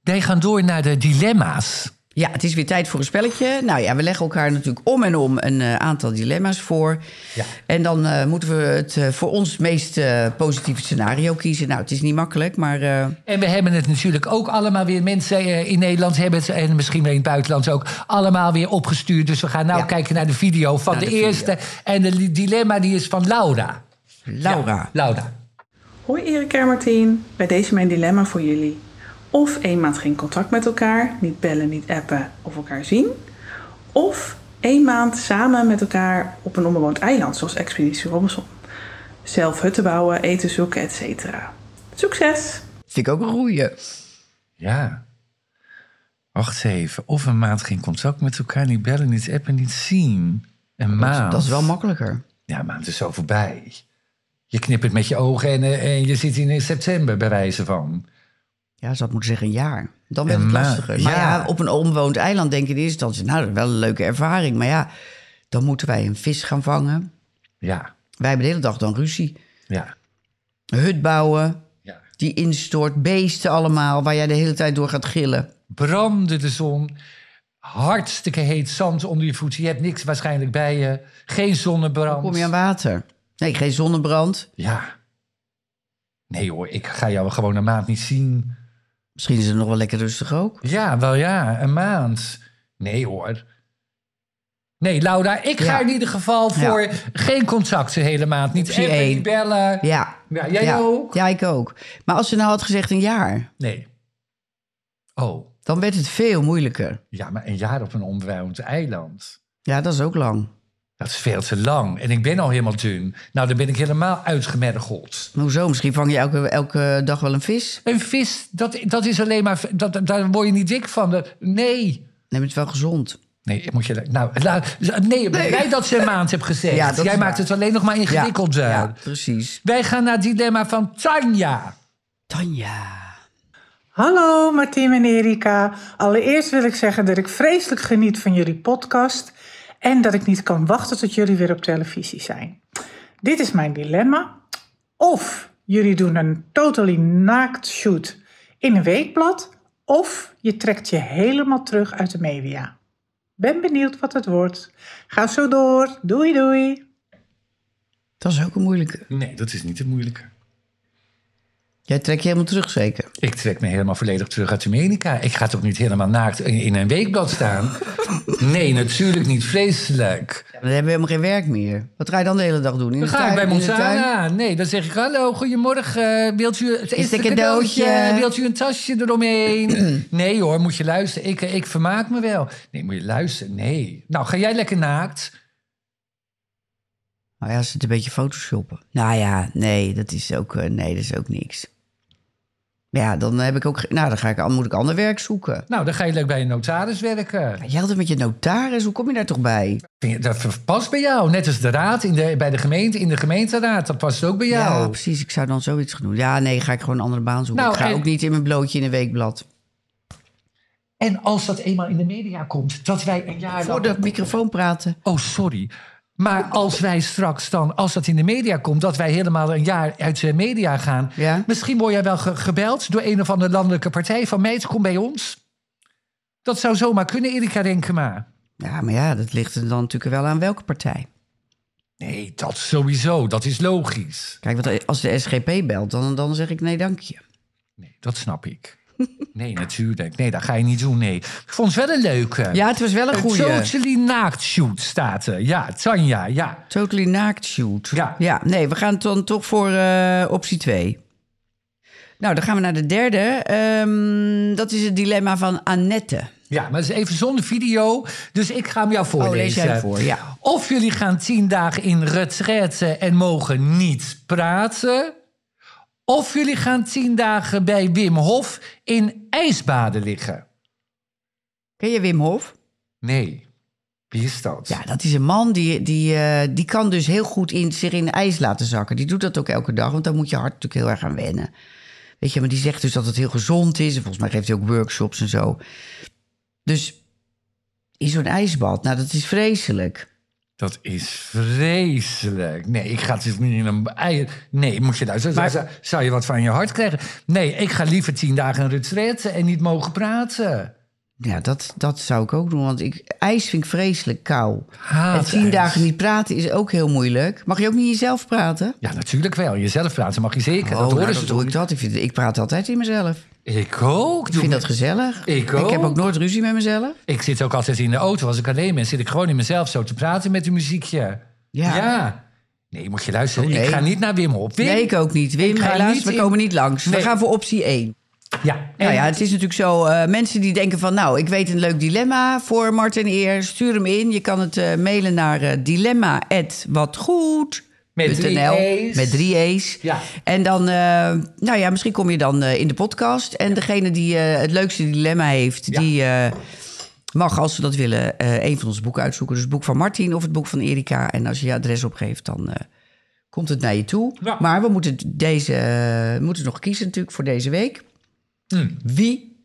Wij gaan door naar de dilemma's.
Ja, het is weer tijd voor een spelletje. Nou ja, we leggen elkaar natuurlijk om en om een eh, aantal dilemma's voor.
Ja.
En dan eh, moeten we het eh, voor ons meest eh, positieve scenario kiezen. Nou, het is niet makkelijk, maar eh,
En we hebben het natuurlijk ook allemaal weer. Mensen eh, in Nederland hebben het, en misschien wel in het buitenland ook, allemaal weer opgestuurd. Dus we gaan nou
Ja.
kijken naar de video van
Naar
de,
de video.
eerste. En de li- dilemma die is van Laura.
Laura.
Ja, Laura.
Hoi Erik en Martien, bij deze mijn dilemma voor jullie. Of één maand geen contact met elkaar, niet bellen, niet appen of elkaar zien. Of één maand samen met elkaar op een onbewoond eiland, zoals Expeditie Robinson. Zelf hutten bouwen, eten zoeken, etc. Succes!
vind ik ook een goeie.
Ja. Wacht even. Of een maand geen contact met elkaar, niet bellen, niet appen, niet zien. Een maand.
Dat is wel makkelijker.
Ja, een maand is zo voorbij. Je knipt het met je ogen en, eh, en je zit in september, bij wijze van.
Ja, ze had moeten zeggen een jaar. Dan werd
Een
het
maand,
lastiger. Maar
ja.
ja, op een onbewoond eiland denk je in eerste instantie... nou, dat is wel een leuke ervaring. Maar ja, dan moeten wij een vis gaan vangen.
Ja,
Wij hebben de hele dag dan ruzie.
ja,
Hut bouwen,
ja.
die instort, beesten allemaal... waar jij de hele tijd door gaat gillen.
brandde de zon. Hartstikke heet zand onder je voeten. Je hebt niks waarschijnlijk bij je. Geen zonnebrand.
Kom je aan water? Nee, geen zonnebrand.
Ja. Nee hoor, ik ga jou gewoon een maand niet zien.
Misschien is het nog wel lekker rustig ook.
Ja, wel ja, een maand. Nee hoor. Nee, Laura, ik ga
Ja.
in ieder geval voor
Ja.
geen contact de hele maand. Niet
Optie
appen,
één.
niet bellen.
Ja.
Ja, jij
ja.
ook?
Ja, ik ook. Maar als ze nou had gezegd een jaar,
Nee. Oh,
dan werd het veel moeilijker.
ja, maar een jaar op een onbewoond eiland.
Ja, dat is ook lang.
Dat is veel te lang. En ik ben al helemaal dun. Nou, dan ben ik helemaal uitgemergeld.
Maar Hoezo? Misschien vang je elke, elke dag wel een vis.
Een vis, dat, dat is alleen maar... Dat, dat- daar word je niet dik van. Dat- nee.
Neem het wel gezond.
Nee, moet je... Nou, la- nee, blij dat ze een maand hebt gezegd.
Ja, dat is
Jij maakt
waar.
het alleen nog maar
Ja,
ingewikkeld. eh.
ja, precies.
Wij gaan naar het dilemma van Tanja.
Tanja.
Hallo Martien en Erika. Allereerst wil ik zeggen dat ik vreselijk geniet van jullie podcast en dat ik niet kan wachten tot jullie weer op televisie zijn. Dit is mijn dilemma. Of jullie doen een totally naakt shoot in een weekblad, of je trekt je helemaal terug uit de media. Ben benieuwd wat het wordt. Ga zo door. Doei doei.
Dat is ook een moeilijke.
Nee, dat is niet het moeilijke.
Jij trekt je helemaal terug zeker?
Ik trek me helemaal volledig terug uit Amerika. Ik ga toch niet helemaal naakt in, in een weekblad staan? nee, natuurlijk niet. Vreselijk.
Dan hebben we helemaal geen werk meer. Wat ga je dan de hele dag doen? In
Dan
de
ga ik bij
tuin, in de tuin?
Montana. Nee, dan zeg ik hallo, goedemorgen. Wilt u het eerste
er een cadeautje?
cadeautje? Wilt u een tasje eromheen? nee hoor, moet je luisteren. Ik, eh, ik vermaak me wel. Nee, moet je luisteren? Nee. Nou, ga jij lekker naakt?
Nou ja, ze het een beetje photoshoppen. Nou ja, nee, dat is ook, eh, nee, dat is ook niks. Maar Ja, dan heb ik ook. ge- Nou, dan ga ik, moet ik ander werk zoeken.
Nou, dan ga je lekker bij een notaris werken.
Maar Jij had het met je notaris, hoe kom je daar toch bij?
Vind je- Dat past bij jou. Net als de raad in de, bij de gemeente, in de gemeenteraad. Dat past ook bij jou.
Ja, precies. Ik zou dan zoiets gaan doen. Ja, nee, ga ik gewoon een andere baan zoeken.
Nou,
ik ga
en-
ook niet in mijn blootje in een weekblad.
En als dat eenmaal in de media komt, dat wij een jaar
Voor
lang...
de microfoon praten.
Oh, sorry. Maar als wij straks dan, als dat in de media komt... dat wij helemaal een jaar uit de media gaan...
Ja.
misschien word jij wel ge- gebeld door een of andere landelijke partij... van meid, kom bij ons. Dat zou zomaar kunnen, Erika Renkema.
Ja, maar ja, dat ligt er dan natuurlijk wel aan welke partij.
Nee, dat sowieso. Dat is logisch.
Kijk, want eh, als de SGP belt, dan, dan zeg ik nee, dank je.
Nee, dat snap ik. Nee, natuurlijk. Nee, dat ga je niet doen, nee. Ik vond het wel een leuke.
Ja, het was wel een
Een
goede.
totally naakt shoot staat er. Ja, Tanja, ja.
Totally naakt shoot.
Ja.
ja, nee, we gaan dan toch voor eh, optie 2. Nou, dan gaan we naar de derde. Ehm, dat is het dilemma van Annette.
Ja, maar het is even zonder video, dus ik ga hem jou voorlezen.
Oh, lees jij hem voor, ja.
Of jullie gaan tien dagen in retraite en mogen niet praten... of jullie gaan tien dagen bij Wim Hof in ijsbaden liggen.
Ken je Wim Hof?
Nee, wie is dat?
Ja, dat is een man die, die, eh, die kan dus heel goed in, zich in ijs laten zakken. Die doet dat ook elke dag, want daar moet je hart natuurlijk heel erg aan wennen. Weet je, maar die zegt dus dat het heel gezond is. En volgens mij geeft hij ook workshops en zo. Dus in zo'n ijsbad, nou dat is vreselijk.
Dat is vreselijk. Nee, ik ga het niet in een ei. Nee, moet je luisteren. zou, zou je wat van je hart krijgen? Nee, ik ga liever tien dagen een retraite en niet mogen praten.
Ja, dat, dat zou ik ook doen, want ik, ijs vind ik vreselijk kou.
Haat
en tien
ijs.
dagen niet praten is ook heel moeilijk. Mag je ook niet in jezelf praten?
Ja, natuurlijk wel. Jezelf praten mag je zeker. Oh, dat
nou,
horen
dat
ze
doe
toch?
ik dat. Ik, vind, ik praat altijd in mezelf.
Ik ook.
Ik vind dat gezellig.
Ik
Ik heb
ook.
ook nooit ruzie met mezelf.
Ik zit ook altijd in de auto. Als ik alleen ben, zit ik gewoon in mezelf zo te praten met een muziekje.
Ja.
Nee, moet je luisteren.
Oh, nee.
Ik ga niet naar Wim op. Wim?
Nee, ik ook niet. Wim,
Ik ga
helaas,
niet
we
in-
komen niet langs.
Nee.
We gaan voor optie 1.
Ja.
Nou ja, het is natuurlijk zo. eh, mensen die denken van... nou, ik weet een leuk dilemma voor Mart en Eer. Stuur hem in. Je kan het eh, mailen naar eh, dilemma@watgoed.nl.
Met drie E's.
Met drie E's.
Ja.
En dan, eh, nou ja, misschien kom je dan eh, in de podcast. En degene die eh, het leukste dilemma heeft...
Ja.
die eh, mag, als ze dat willen, eh een van onze boeken uitzoeken. Dus het boek van Martin of het boek van Erika. En als je je adres opgeeft, dan... eh, komt het naar je toe.
Ja.
Maar we moeten, deze, we moeten nog kiezen natuurlijk voor deze week. Wie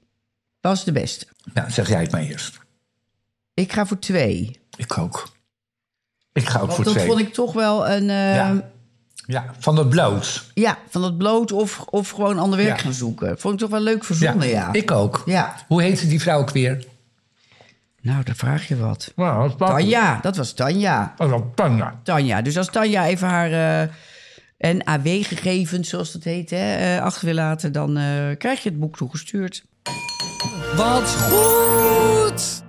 was de beste?
Nou, zeg jij het maar eerst.
Ik ga voor twee.
Ik ook. Ik ga ook
Want
voor
dat
twee.
vond ik toch wel een... eh,
Ja. Ja, van dat bloot.
Ja, van dat bloot of, of gewoon ander werk
Ja.
gaan zoeken. Vond ik toch wel leuk verzonnen, ja.
Ik ook.
Ja.
Hoe heette die vrouw ook weer?
Nou, daar vraag je wat.
Nou, dat is Tanja.
Tanja, dat was Tanja.
Dat is wel Tanja.
Tanja. Dus als Tanja even haar eh NAW-gegevens, zoals dat heet, hè, eh, achter wil laten... dan eh, krijg je het boek toegestuurd.
Wat goed!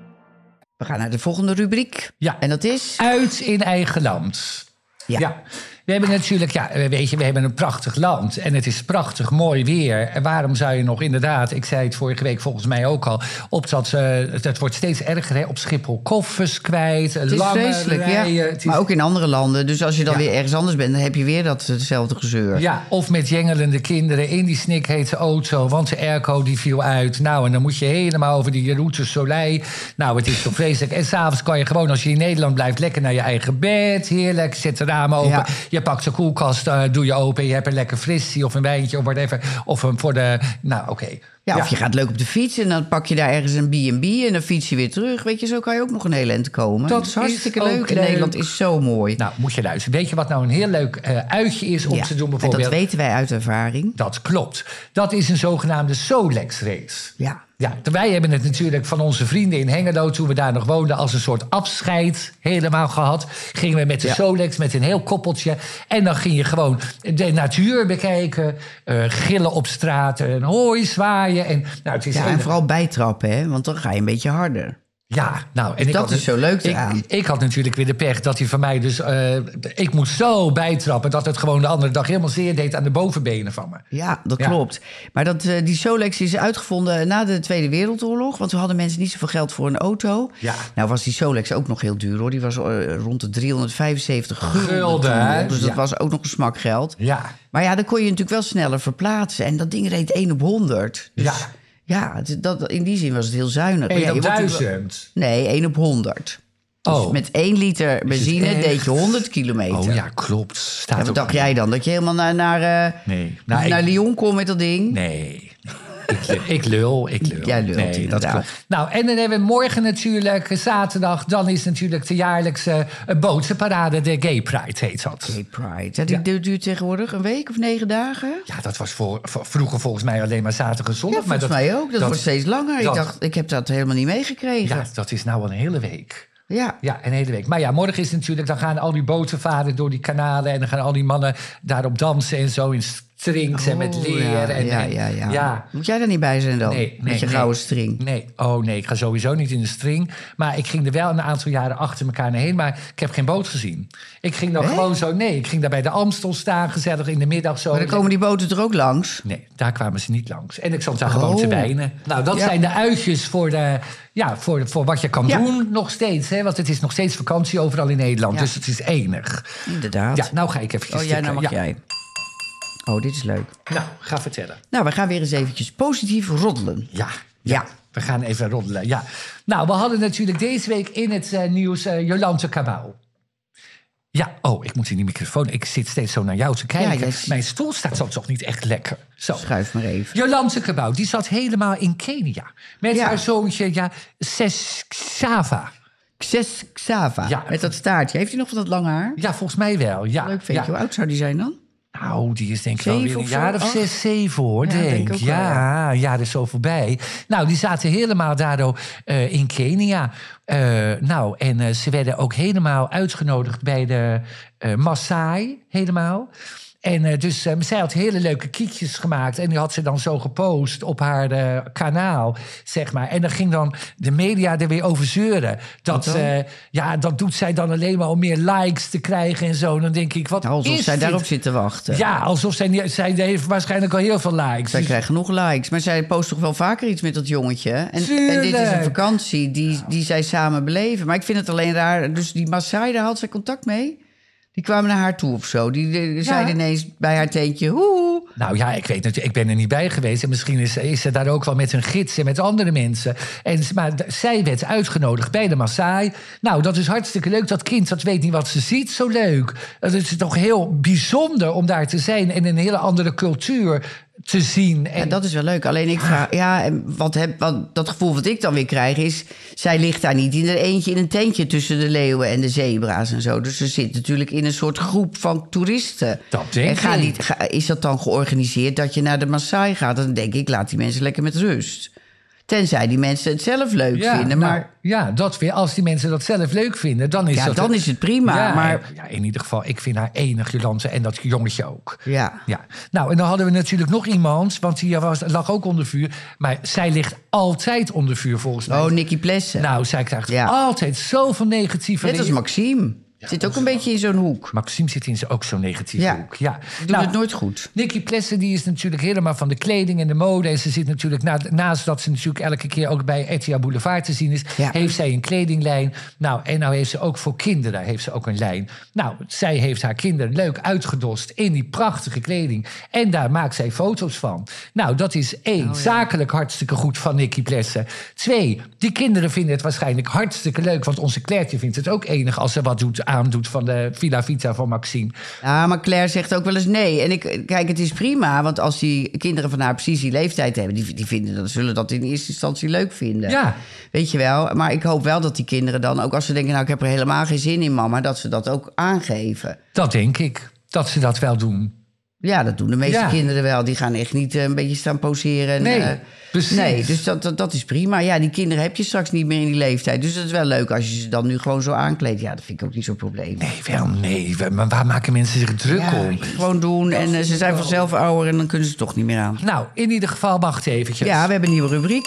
We gaan naar de volgende rubriek.
Ja.
En dat is...
Uit in eigen land.
Ja.
Ja. We hebben natuurlijk, ja, weet je, we hebben een prachtig land. En het is prachtig mooi weer. En waarom zou je nog inderdaad, ik zei het vorige week volgens mij ook al, op dat, eh het wordt steeds erger, hè, op Schiphol koffers kwijt,
Het is
lange
vreselijk,
rijen.
ja.
Het is-
Maar ook in andere landen. Dus als je dan
Ja.
weer ergens anders bent, dan heb je weer dat, hetzelfde gezeur.
Ja, of met jengelende kinderen in die snikheetse auto, want de airco die viel uit. Nou, en dan moet je helemaal over die route Soleil. Nou, het is zo vreselijk. En s'avonds kan je gewoon, als je in Nederland blijft, lekker naar je eigen bed. Heerlijk, zet de ramen open.
Ja.
Je pakt de koelkast, eh, doe je open. Je hebt een lekker frissie of een wijntje of whatever. Of een voor de, nou oké.
Ja, of je gaat leuk op de fiets en dan pak je daar ergens een B&B en dan fiets je weer terug. Weet je, zo kan je ook nog een heel eind komen.
Dat
Dat is hartstikke
is ook
leuk. En
leuk.
Nederland is zo mooi.
Nou, moet je luisteren. Weet je wat nou een heel leuk eh, uitje is om
Ja,
te doen
en dat
bijvoorbeeld?
weten wij uit ervaring.
Dat klopt. Dat is een zogenaamde Solex race.
Ja.
Ja, wij hebben het natuurlijk van onze vrienden in Hengelo... toen we daar nog woonden, als een soort afscheid helemaal gehad. Gingen we met de
Ja.
Solex, met een heel koppeltje. En dan ging je gewoon de natuur bekijken. eh, gillen op straat, een hooi zwaaien. En, nou, het is
Ja,
enig.
en vooral bijtrappen, hè? want dan ga je een beetje harder.
Ja, nou, en ik
dat
had
is zo leuk
ik,
eraan.
ik had natuurlijk weer de pech dat hij van mij dus... eh, ik moest zo bijtrappen dat het gewoon de andere dag helemaal zeer deed... aan de bovenbenen van me.
Ja, dat
Ja.
klopt. Maar dat, eh, die Solex is uitgevonden na de Tweede Wereldoorlog. Want toen hadden mensen niet zoveel geld voor een auto.
Ja.
Nou was die Solex ook nog heel duur hoor. Die was eh, rond de 375 gulden.
Gulden,
toen
hè?
nog. Dus dat
Ja.
was ook nog een smak geld.
Ja.
Maar ja, dan kon je natuurlijk wel sneller verplaatsen. En dat ding reed 1 op 100. Dus
Ja.
ja, het- dat, in die zin was het heel zuinig. Maar ja,
Eén
je
op
wordt natuurlijk wel-
duizend.
Nee, 1 op 100. Dus
Oh.
met 1 liter benzine
echt?
deed je 100 kilometer.
Oh ja, klopt. Staat
En wat
ook-
dacht jij dan? Dat je helemaal naar, naar, eh,
Nee. Nou,
naar
ik-
Lyon kon met dat ding?
Nee. Ik lul, ik lul, ik lul.
Jij lult,
nee, dat
inderdaad.
klopt. Nou, en dan hebben we morgen natuurlijk, eh, zaterdag... dan is natuurlijk de jaarlijkse eh, bootsenparade, de Gay Pride heet dat.
Gay Pride. hè, Die du- duurt tegenwoordig een week of negen dagen?
Ja, dat was voor, voor- vroeger volgens mij alleen maar zaterdag en zondag.
Ja, volgens
maar dat,
mij ook. Dat, wordt steeds langer.
dat-
ik dacht, ik heb dat helemaal niet meegekregen.
Ja,
Ja.
dat is nou al een hele week.
Ja.
Ja, een hele week. Maar ja, morgen is natuurlijk, dan gaan al die boten varen door die kanalen. En dan gaan al die mannen daarop dansen en zo in strings en met
Oh,
leer.
ja,
en,
ja,
en-
ja, ja.
ja,
Moet jij daar niet bij zijn dan? met je
nee.
gouden string.
Nee, oh nee, ik ga sowieso niet in de string. Maar ik ging er wel een aantal jaren achter elkaar naar heen. Maar ik heb geen boot gezien. Ik ging dan
Hè?
gewoon zo, nee, ik ging daar bij de Amstel staan, gezellig in de middag zo.
Maar dan komen die boten er ook langs.
Nee, daar kwamen ze niet langs. En ik zat daar
Oh.
gewoon te wijnen. Nou, dat
Ja.
zijn de uitjes voor, de, ja, voor, voor wat je kan
Ja.
doen nog steeds. Hè? Want het is nog steeds vakantie overal in Nederland.
Ja.
Dus het is enig.
Inderdaad.
Ja, nou ga ik eventjes
oh ja, nou
tikken.
mag
Ja.
jij. Oh, dit is leuk.
Nou, ga vertellen.
Nou, we gaan weer eens eventjes positief roddelen.
Ja.
Ja.
We gaan even roddelen, ja. Nou, we hadden natuurlijk deze week in het eh, nieuws eh Jolante Cabau. Ja, oh, ik moet in die microfoon. Ik zit steeds zo naar jou te kijken.
jij ziet-
Mijn stoel staat soms toch niet echt lekker. Zo.
Schuif maar even.
Jolante Cabau, die zat helemaal in Kenia. Met
Ja.
haar zoontje, ja, Sesava.
Xes Xava.
Ja.
Met dat staartje. Heeft hij nog van dat lange haar?
Ja, volgens mij wel, ja.
Leuk ventje. Hoe
ja.
oud zou die zijn dan?
Nou, die is denk ik wel
Zeven
weer een
of zo,
jaar of
acht?
zes, zeven hoor,
Ja,
denk,
denk ik ook wel,
Ja, ja, er is zo voorbij. Nou, die zaten helemaal daardoor eh, in Kenia. Eh, nou, en eh, ze werden ook helemaal uitgenodigd bij de eh Maasai, helemaal. En eh, dus eh, zij had hele leuke kiekjes gemaakt. En die had ze dan zo gepost op haar eh, kanaal, zeg maar. En dan ging dan de media er weer over zeuren. Dat, eh, ja, dat doet zij dan alleen maar om meer likes te krijgen en zo. En dan denk ik, wat
Nou, alsof
is
zij
dit?
daarop zit te wachten.
Ja, alsof zij, niet- zij heeft waarschijnlijk al heel veel likes.
Zij
Dus-
krijgt genoeg likes. Maar zij post toch wel vaker iets met dat jongetje. hè? En, en dit is
Tuurlijk.
een vakantie die, die zij samen beleven. Maar ik vind het alleen raar. Dus die Maasai, daar had zij contact mee. Die kwamen naar haar toe of zo. Die, die zeiden ineens bij haar teentje... Hoe?
Nou ja, ik weet natuurlijk, ik ben er niet bij geweest. En misschien is, is ze daar ook wel met een gids en met andere mensen. En, ze- maar d- zij werd uitgenodigd bij de Maasai. Nou, dat is hartstikke leuk. Dat kind, dat weet niet wat ze ziet. Zo leuk. Het is toch heel bijzonder om daar te zijn en een hele andere cultuur te zien. En
En dat is wel leuk. Alleen ik vraag, ja, en wat heb, wat, dat gevoel wat ik dan weer krijg is, zij ligt daar niet in een eentje in een tentje tussen de leeuwen en de zebra's en zo. Dus ze zit natuurlijk in een soort groep van toeristen.
Dat denk
en gaan
ik.
die, ga- is dat dan georganiseerd dat je naar de Maasai gaat? Dan denk ik, laat die mensen lekker met rust. Tenzij die mensen het zelf leuk
ja,
vinden.
nou,
Maar
ja, dat weer. Als die mensen dat zelf leuk vinden, dan is
ja,
dat
dan is het prima.
Ja,
maar
ja, in ieder geval, ik vind haar enig Jolante en dat jongetje ook.
ja.
Ja, nou en dan hadden we natuurlijk nog iemand, want die was, lag ook onder vuur. Maar zij ligt altijd onder vuur volgens mij.
Oh, Nicky Plessen.
nou, zij krijgt
Ja.
altijd zoveel negatieve
Net als
reacties.
Maxime. zit ook een beetje in zo'n hoek.
Maxime zit in ze ook zo'n negatieve
Ja.
hoek. Ja.
Doet
Nou,
het nooit goed.
Nicky Plessen die is natuurlijk helemaal van de kleding en de mode. En ze zit natuurlijk, na, naast dat ze natuurlijk elke keer ook bij Etia Boulevard te zien is...
Ja.
heeft zij een kledinglijn. Nou, en nou heeft ze ook voor kinderen heeft ze ook een lijn. Nou, zij heeft haar kinderen leuk uitgedost in die prachtige kleding. En daar maakt zij foto's van. Nou, dat is één, zakelijk hartstikke goed van Nicky Plessen. Twee, die kinderen vinden het waarschijnlijk hartstikke leuk... want onze Clairtje vindt het ook enig als ze wat doet, aandoet van de Villa Vita van Maxime.
Ja, maar Claire zegt ook wel eens nee. En ik, kijk, het is prima, want als die kinderen van haar precies die leeftijd hebben, die, die vinden dat, zullen dat in eerste instantie leuk vinden.
Ja.
Weet je wel? Maar ik hoop wel dat die kinderen dan, ook als ze denken, nou, ik heb er helemaal geen zin in, mama, dat ze dat ook aangeven.
Dat denk ik, dat ze dat wel doen.
Ja, dat doen de meeste
Ja.
kinderen wel. Die gaan echt niet eh, een beetje staan poseren. en,
Nee,
eh,
precies.
Nee, dus dat, dat, dat is prima. Ja, die kinderen heb je straks niet meer in die leeftijd. Dus dat is wel leuk als je ze dan nu gewoon zo aankleedt. Ja, dat vind ik ook niet zo'n probleem.
Nee, wel nee. Wa- Maar waar maken mensen zich druk om?
Gewoon doen en eh, ze zijn vanzelf ouder en dan kunnen ze het toch niet meer aan.
Nou, in ieder geval wacht eventjes.
Ja, we hebben een nieuwe rubriek.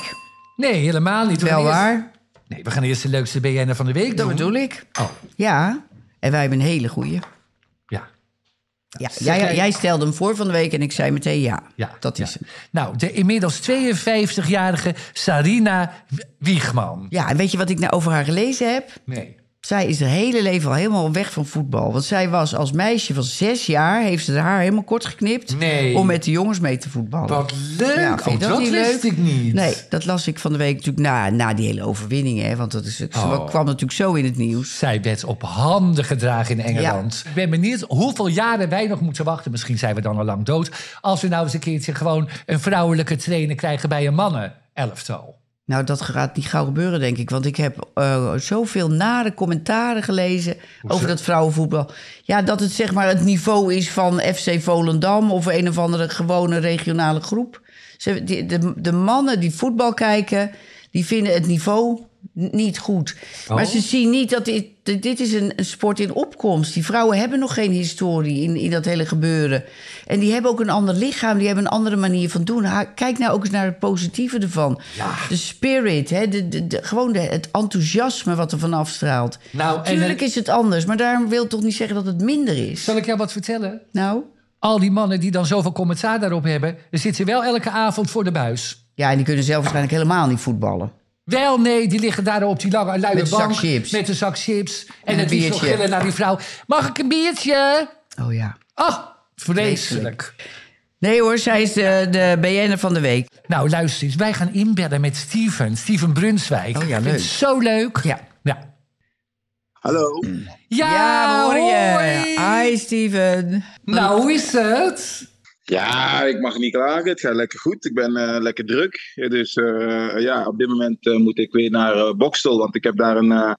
Nee, helemaal niet. We
Wel
gaan eerst-
waar.
Nee, we gaan eerst de leukste BN'er van de week
Dat
doen.
bedoel ik.
Oh,
Ja, en wij hebben een hele goeie.
ja.
Ja, jij, jij stelde hem voor van de week en ik zei meteen ja.
ja
dat is
ja.
hem.
Nou, de inmiddels 52-jarige Sarina W- Wiegman.
Ja, en weet je wat ik nou over haar gelezen heb?
Nee.
Zij is haar hele leven al helemaal weg van voetbal. Want zij was als meisje van zes jaar, heeft ze haar haar helemaal kort geknipt...
Nee.
om met de jongens mee te voetballen.
Wat leuk.
Ja,
Oh,
vind je
dat
dat niet
wist
leuk?
ik niet.
Nee, dat las ik van de week natuurlijk na, na die hele overwinning. Hè, want dat is, het
Oh.
kwam natuurlijk zo in het nieuws.
Zij werd op handen gedragen in Engeland. Ik ben benieuwd hoeveel jaren wij nog moeten wachten. Misschien zijn we dan al lang dood. Als we nou eens een keertje gewoon een vrouwelijke trainer krijgen bij een mannen-elftal.
Nou, dat gaat niet gauw gebeuren, denk ik. Want ik heb eh, zoveel nare commentaren gelezen over dat vrouwenvoetbal. Ja, dat het zeg maar het niveau is van FC Volendam of een of andere gewone regionale groep. Ze, die- de, de mannen die voetbal kijken, die vinden het niveau n- niet goed.
Oh.
Maar ze zien niet dat dit, dat dit is een, een sport in opkomst. Die vrouwen hebben nog geen historie in, in dat hele gebeuren. En die hebben ook een ander lichaam, die hebben een andere manier van doen. Ha- Kijk nou ook eens naar het positieve ervan. De spirit, hè? De, de, de- gewoon de, het enthousiasme wat er vanaf straalt.
Nou, en
Tuurlijk
een-
is het anders, maar daarom wil het toch niet zeggen dat het minder is.
Zal ik jou wat vertellen?
Nou,
Al die mannen die dan zoveel commentaar daarop hebben, dan zitten wel elke avond voor de buis.
ja, en die kunnen zelf waarschijnlijk helemaal niet voetballen.
Wel, nee, die liggen daar op die lange luie
Met een
bank.
zak chips.
Met een zak chips. En,
een
het liefst nog
biertje.
gillen naar die vrouw. Mag ik een biertje?
Oh ja.
Oh, vreselijk.
Nee hoor, zij is de, de BN'er van de week.
Nou, luister eens. Wij gaan inbellen met Steven. Steven Brunswijk.
Oh ja,
Ik vind
leuk.
het Zo leuk.
Ja.
Ja,
Hallo.
ja,
ja, hoor je.
hoi.
Hi Steven.
Nou, hoe is het?
Ja, ik mag niet klagen. Het gaat lekker goed. Ik ben eh, lekker druk. Dus eh, ja, op dit moment eh, moet ik weer naar eh Bokstel, want ik heb daar een, eh,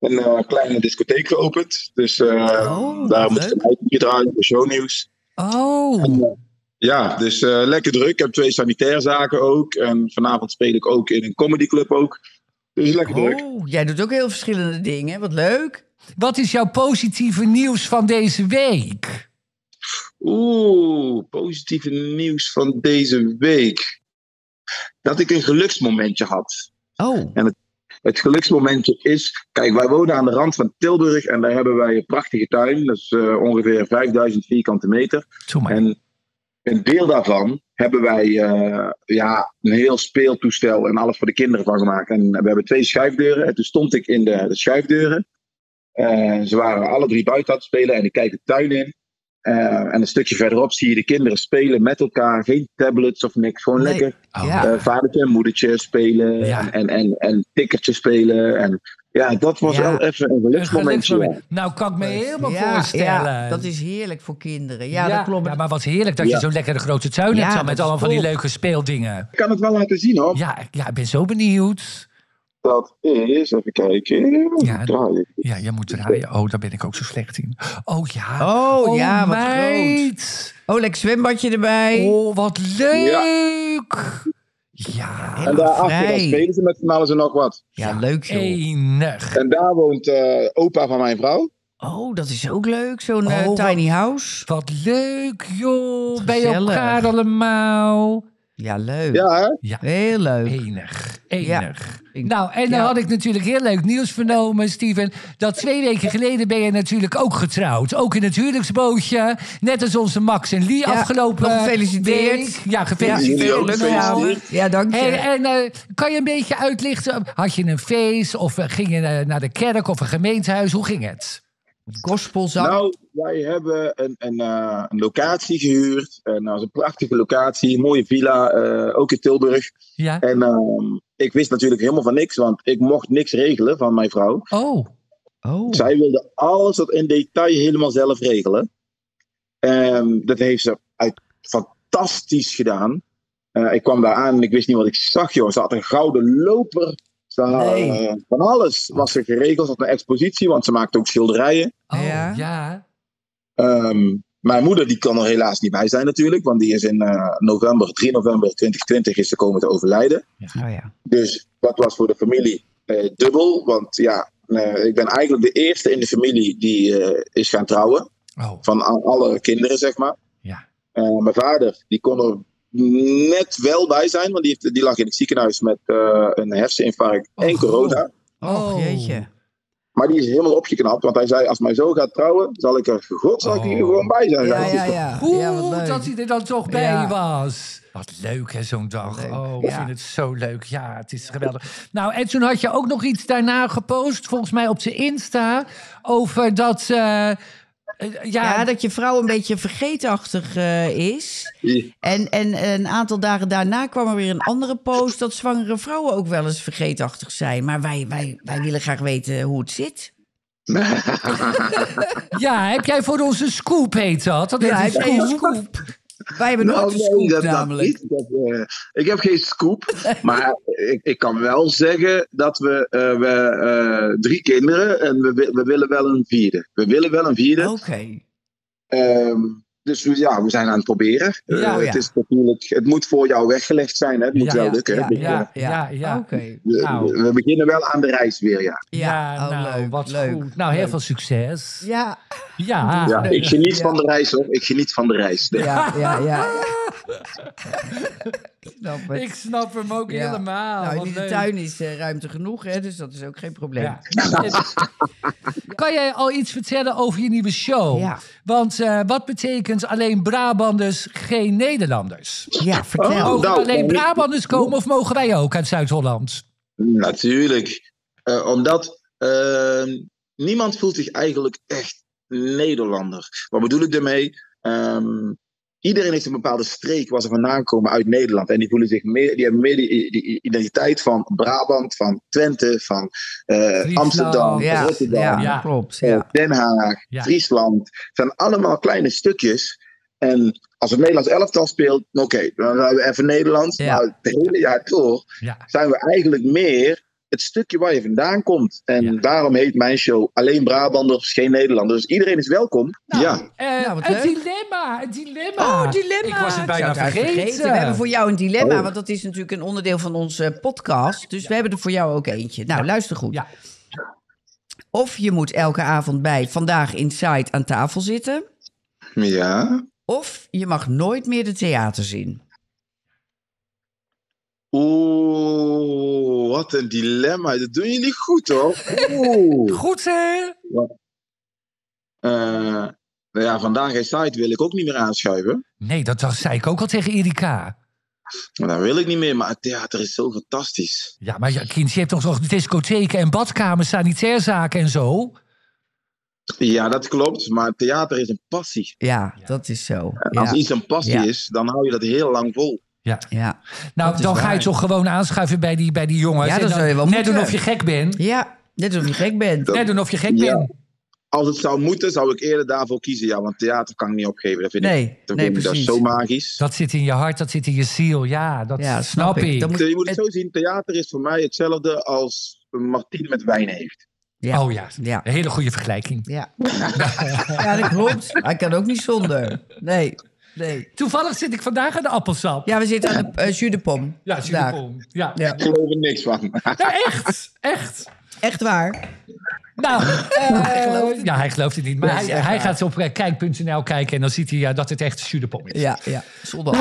een eh, kleine discotheek geopend. Dus eh,
Oh,
daar
wat
moet ik
leuk.
een uitje draaien voor shownieuws. eh,
Oh.
Ja, dus eh, lekker druk. Ik heb twee sanitairzaken ook. En vanavond speel ik ook in een comedyclub ook. Dus lekker druk.
Oh, jij doet ook heel verschillende dingen. Wat leuk.
Wat is jouw positieve nieuws van deze week?
Oeh, positieve nieuws van deze week. Dat ik een geluksmomentje had.
Oh,
Het geluksmomentje is, kijk, wij wonen aan de rand van Tilburg en daar hebben wij een prachtige tuin. Dat is eh, ongeveer 5000 vierkante meter.
Doe maar.
En een deel daarvan hebben wij eh, ja, een heel speeltoestel en alles voor de kinderen van gemaakt. En we hebben twee schuifdeuren. En toen stond ik in de, de schuifdeuren. Eh, ze waren alle drie buiten aan het spelen en ik kijk de tuin in. Eh, en een stukje verderop zie je de kinderen spelen met elkaar. Geen tablets of niks. Gewoon
Nee.
lekker
Oh.
ja.
eh vadertje en moedertje spelen
Ja.
en, en, en, en tikkertje spelen en Ja, dat was
Ja.
wel even een
Een
geluksmomentje. ja.
geluksmoment. Nou, kan ik me helemaal voorstellen.
Oh, ja, dat is heerlijk voor kinderen. Ja, dat klopt.
Ja, maar wat heerlijk dat je
Ja.
zo lekker de grote tuin
Ja,
hebt. zo,
dat
met
is
allemaal van die
top.
leuke speeldingen.
Ik kan het wel laten zien hoor.
Ja, ik- ja, ik ben zo benieuwd.
Dat is, even kijken.
Ja.
Draai ik.
Ja, jij moet draaien. Oh, daar ben ik ook zo slecht in. Oh ja.
Oh, ja, wat
meid.
Oh, lekker zwembadje erbij.
Oh, wat leuk. Ja,
En daarachter
vrij.
dan spelen ze met van alles en nog wat.
ja, leuk joh.
enig.
En daar woont eh, opa van mijn vrouw.
Oh, dat is ook leuk. Zo'n
Oh,
eh,
wat-
tiny house.
Wat leuk, joh. Bij
gezellig.
elkaar allemaal.
Ja, leuk.
Ja, hè?
Ja,
Heel leuk.
Enig, enig.
Ja.
Nou, en dan
Ja.
had ik natuurlijk heel leuk nieuws vernomen, Steven. Dat twee weken geleden ben je natuurlijk ook getrouwd. Ook in het huwelijksbootje. Net als onze Max en Lee afgelopen
nog gefeliciteerd.
week. Ja,
Ja,
gefeliciteerd.
Jullie ook
leuk
gefeliciteerd.
Ja, dank je.
En, en eh, kan je een beetje uitlichten? Had je een feest of eh, ging je eh, naar de kerk of een gemeentehuis? Hoe ging het?
Gospelzang.
Nou, wij hebben een, een, eh, een locatie gehuurd. En dat is een prachtige locatie, een mooie villa, eh, ook in Tilburg.
Ja.
En ehm, ik wist natuurlijk helemaal van niks, want ik mocht niks regelen van mijn vrouw.
Oh,
oh.
Zij wilde alles tot in detail helemaal zelf regelen. Ehm, dat heeft ze uit, fantastisch gedaan. Eh, ik kwam daar aan en ik wist niet wat ik zag, joh. Ze had een gouden loper. Ze had,
Nee.
eh, van alles was ze geregeld. Ze had een expositie, want ze maakte ook schilderijen.
oh ja.
Ja.
Ehm, mijn moeder die kan er helaas niet bij zijn natuurlijk, want die is in eh, november, 3 november 2020 is ze komen te overlijden.
Oh ja.
Dus dat was voor de familie eh, dubbel, want ja, eh, ik ben eigenlijk de eerste in de familie die eh, is gaan trouwen
Oh,
van a- alle kinderen, zeg maar.
Ja.
Eh, mijn vader, die kon er net wel bij zijn, want die, heeft, die lag in het ziekenhuis met eh, een herseninfarct
Oh,
en corona.
Oh,
Oh.
jeetje.
Maar die is helemaal opgeknapt, want hij zei, als mijn zoon gaat trouwen, zal ik er godzak
Oh.
hier gewoon bij zijn.
Ja, ja, ja.
Goed
ja, wat leuk.
dat hij er dan toch bij
Ja.
was. Wat leuk hè, zo'n dag.
Leuk,
Oh, ik
ja.
vind het zo leuk. Ja, het is geweldig. Nou, en toen had je ook nog iets daarna gepost, volgens mij op zijn Insta, over dat... eh, eh, ja,
Ja, dat je vrouw een beetje vergeetachtig eh, is.
Ja.
En, en een aantal dagen daarna kwam er weer een andere post... dat zwangere vrouwen ook wel eens vergeetachtig zijn. Maar wij, wij, wij willen graag weten hoe het zit.
ja, heb jij voor onze scoop heet dat? Dat
Ja,
heet
heb
een
jij een
scoop.
Wij hebben nooit een scoop namelijk.
niet. Nou, Dat, eh, ik heb geen scoop, maar ik, ik kan wel zeggen dat we, eh, we eh, drie kinderen en we, wi- we willen wel een vierde. We willen wel een vierde.
Oké.
Ehm, dus we- ja, we zijn aan het proberen. Eh,
Ja,
het,
ja.
is natuurlijk, het moet voor jou weggelegd zijn. Hè? Het moet
Ja,
wel
ja,
lukken. hè.
ja, Ah,
Dus, eh,
Ja, ja, ja.
Oké.
we-
Nou.
we, beginnen wel aan de reis weer, ja.
Ja,
oh,
nou,
leuk,
wat
leuk,
goed. Nou, heel
leuk.
veel succes.
Ja,
Ja.
ja ik geniet
Ah, Ja.
van de reis, hoor. Ik geniet van de reis.
ja, ja, ja. Ik Snap het.
Ik snap hem ook
Ja.
helemaal.
nou,
Wat
in de
leuk.
tuin is eh, ruimte genoeg, hè, dus dat is ook geen probleem.
Ja. Nou, en- kan jij al iets vertellen over je nieuwe show?
Ja.
Want eh, wat betekent alleen Brabanders geen Nederlanders?
Ja, vertel.
Oh,
Mogen
nou,
alleen
nou,
Brabanders
oh.
komen of mogen wij ook uit Zuid-Holland?
Natuurlijk. Eh, omdat ehm, niemand voelt zich eigenlijk echt Nederlander. Wat bedoel ik daarmee? Ehm, iedereen heeft een bepaalde streek waar ze vandaan komen uit Nederland. En die voelen zich meer, die hebben meer die, die identiteit van Brabant, van Twente, van eh, Amsterdam,
ja,
Rotterdam.
ja,
Ja.
klopt. Ja.
Den Haag,
Ja.
Friesland. Het zijn allemaal kleine stukjes. En als het Nederlands elftal speelt, nou, oké, dan zijn we even Nederlands.
Ja.
Maar het hele jaar door
Ja.
zijn we eigenlijk meer het stukje waar je vandaan komt. En
Ja.
daarom heet mijn show Alleen Brabanders, geen Nederlanders. Dus iedereen is welkom. ja.
Eh,
Nou, wat
een
leuk.
dilemma, een dilemma.
Oh, dilemma.
Ik was het
Ik
bijna
zou het
vergeten.
We hebben voor jou een dilemma,
Oh.
want dat is natuurlijk een onderdeel van onze podcast. Dus we hebben er voor jou ook eentje. Nou, luister goed.
Ja.
Of je moet elke avond bij Vandaag Inside aan tafel zitten,
Ja.
of je mag nooit meer de theaters in.
Oeh, wat een dilemma. Dat doen jullie goed hoor. Oeh.
Goed hè?
Eh, nou ja, vandaag geen site wil ik ook niet meer aanschuiven.
Nee, dat was, zei ik ook al tegen Erika.
Maar dat wil ik niet meer. Maar het theater is zo fantastisch.
Ja, maar ja, kind, je hebt toch nog discotheken en badkamers, sanitairzaken en zo?
Ja, dat klopt. Maar theater is een passie.
Ja, dat is zo.
En als
Ja,
iets een passie
Ja.
is, dan hou je dat heel lang vol.
ja.
Nou,
Dat is
dan ga je
waar.
toch gewoon aanschuiven bij die, bij die jongens.
Ja,
en
dat
dan
zou je wel
Net
moeten.
doen of je gek bent.
ja. Net alsof je gek bent.
Dat-
Net doen of je gek
Ja.
bent.
Als het zou moeten, zou ik eerder daarvoor kiezen. Ja, want theater kan ik niet opgeven. Dat vind ik,
Nee,
dat
nee,
vind ik dat is
precies.
zo magisch.
Dat zit in je hart, dat zit in je ziel. Ja, dat
Ja,
snap,
snap ik.
ik.
Dat moet-
je moet het
het-
zo zien. Theater is voor mij hetzelfde als Martine met wijn heeft.
Ja.
Oh ja,
Ja.
een hele goede vergelijking.
Ja. ja, dat klopt. Hij kan ook niet zonder. Nee, nee.
Toevallig zit ik vandaag aan de appelsap.
Ja, we zitten aan de eh, jus de pom.
ja, zie je
Daar.
kom. ja.
Ja.
Ik geloof er niks van.
Ja, echt, echt.
Echt waar.
Nou, hij
gelooft het
ja, hij gelooft het niet. Maar
Dat
hij,
is echt
hij
waar.
gaat op eh, kijk.nl kijken en dan ziet hij ja, dat het echt Sudepom is.
Ja, ja. Zonder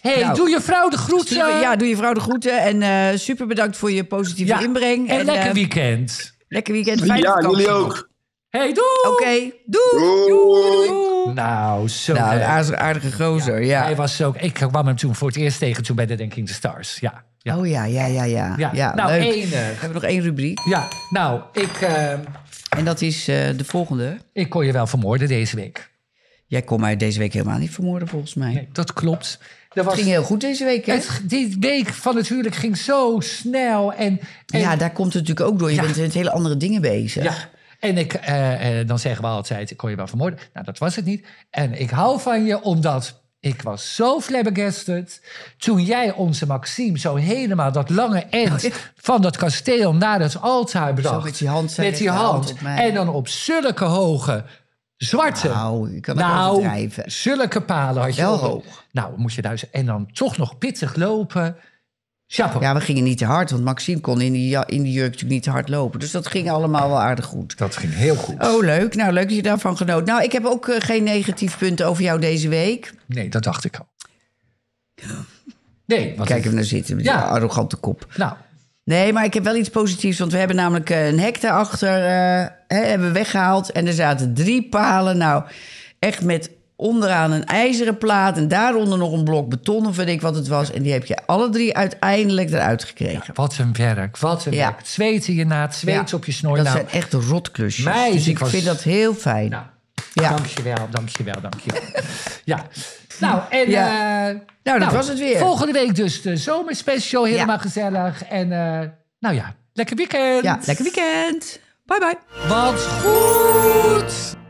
hey,
Nou.
doe je vrouw de groeten.
Super, ja, doe je vrouw de groeten. En eh, super bedankt voor je positieve
Ja,
inbreng.
En, lekker
eh,
weekend.
lekker weekend. Fijne
Ja,
vakantie
jullie
nog.
ook.
hey, doei.
Oké, doei.
Doei.
Nou, zo
Nou,
leuk.
een aardige, aardige gozer, ja.
Hij was ook, ik kwam hem toen voor het eerst tegen toen bij de Denking the Stars. Ja, ja.
Oh ja, ja, ja, ja.
Ja.
ja.
Nou,
leuk.
enig.
We hebben nog één rubriek.
ja nou, ik, eh,
En dat is eh, de volgende.
ik kon je wel vermoorden deze week.
Jij kon mij deze week helemaal niet vermoorden, volgens mij.
Nee, dat klopt. Er
Het
was,
ging heel goed deze week, hè?
het, die week van het huwelijk ging zo snel. En, en
ja, daar komt het natuurlijk ook door. Je
Ja.
bent met hele andere dingen bezig.
Ja. En ik, eh, eh, dan zeggen we altijd, ik kon je wel vermoorden. Nou, dat was het niet. En ik hou van je omdat ik was zo flabbergasted. Toen jij onze Maxime zo helemaal dat lange end van dat kasteel naar het altaar bracht.
Oh, met die hand, zij
Met die
legt haar hand
hand.
op mij.
En dan op zulke hoge zwarte.
Nou, je kan het
nou,
overdrijven.
zulke palen had je.
Wel
onder.
hoog.
Nou, moest je daar... En dan toch nog pittig lopen. Chapeau.
Ja, we gingen niet te hard, want Maxime kon in die, ja- in die jurk natuurlijk niet te hard lopen. Dus dat ging allemaal wel aardig goed.
Dat ging heel goed.
Oh, leuk. Nou, leuk dat je daarvan genoot. Nou, ik heb ook eh, geen negatief punt over jou deze week.
Nee, dat dacht ik al. Nee, want
Kijk even naar zitten met
Ja.
die arrogante kop.
Nou,
Nee, maar ik heb wel iets positiefs, want we hebben namelijk eh, een hek daarachter eh, hè, hebben we weggehaald. En er zaten drie palen, nou, echt met onderaan een ijzeren plaat... en daaronder nog een blok beton of weet ik wat het was. En die heb je alle drie uiteindelijk eruit gekregen.
wat een werk, wat een
Ja.
werk. Het zweet in je naad, het zweet
Ja,
op je snor.
Dat
nou,
zijn echt rotklusjes.
Meid,
dus
ik
ik
was-
vind dat heel fijn.
nou,
Ja.
dankjewel, dankjewel, dankjewel. ja, nou, en...
Ja.
eh,
Nou, dat was het weer.
Volgende week dus de zomerspecial, helemaal
Ja.
gezellig. En eh, nou ja, lekker weekend.
Ja, lekker weekend. Bye bye.
Wat goed!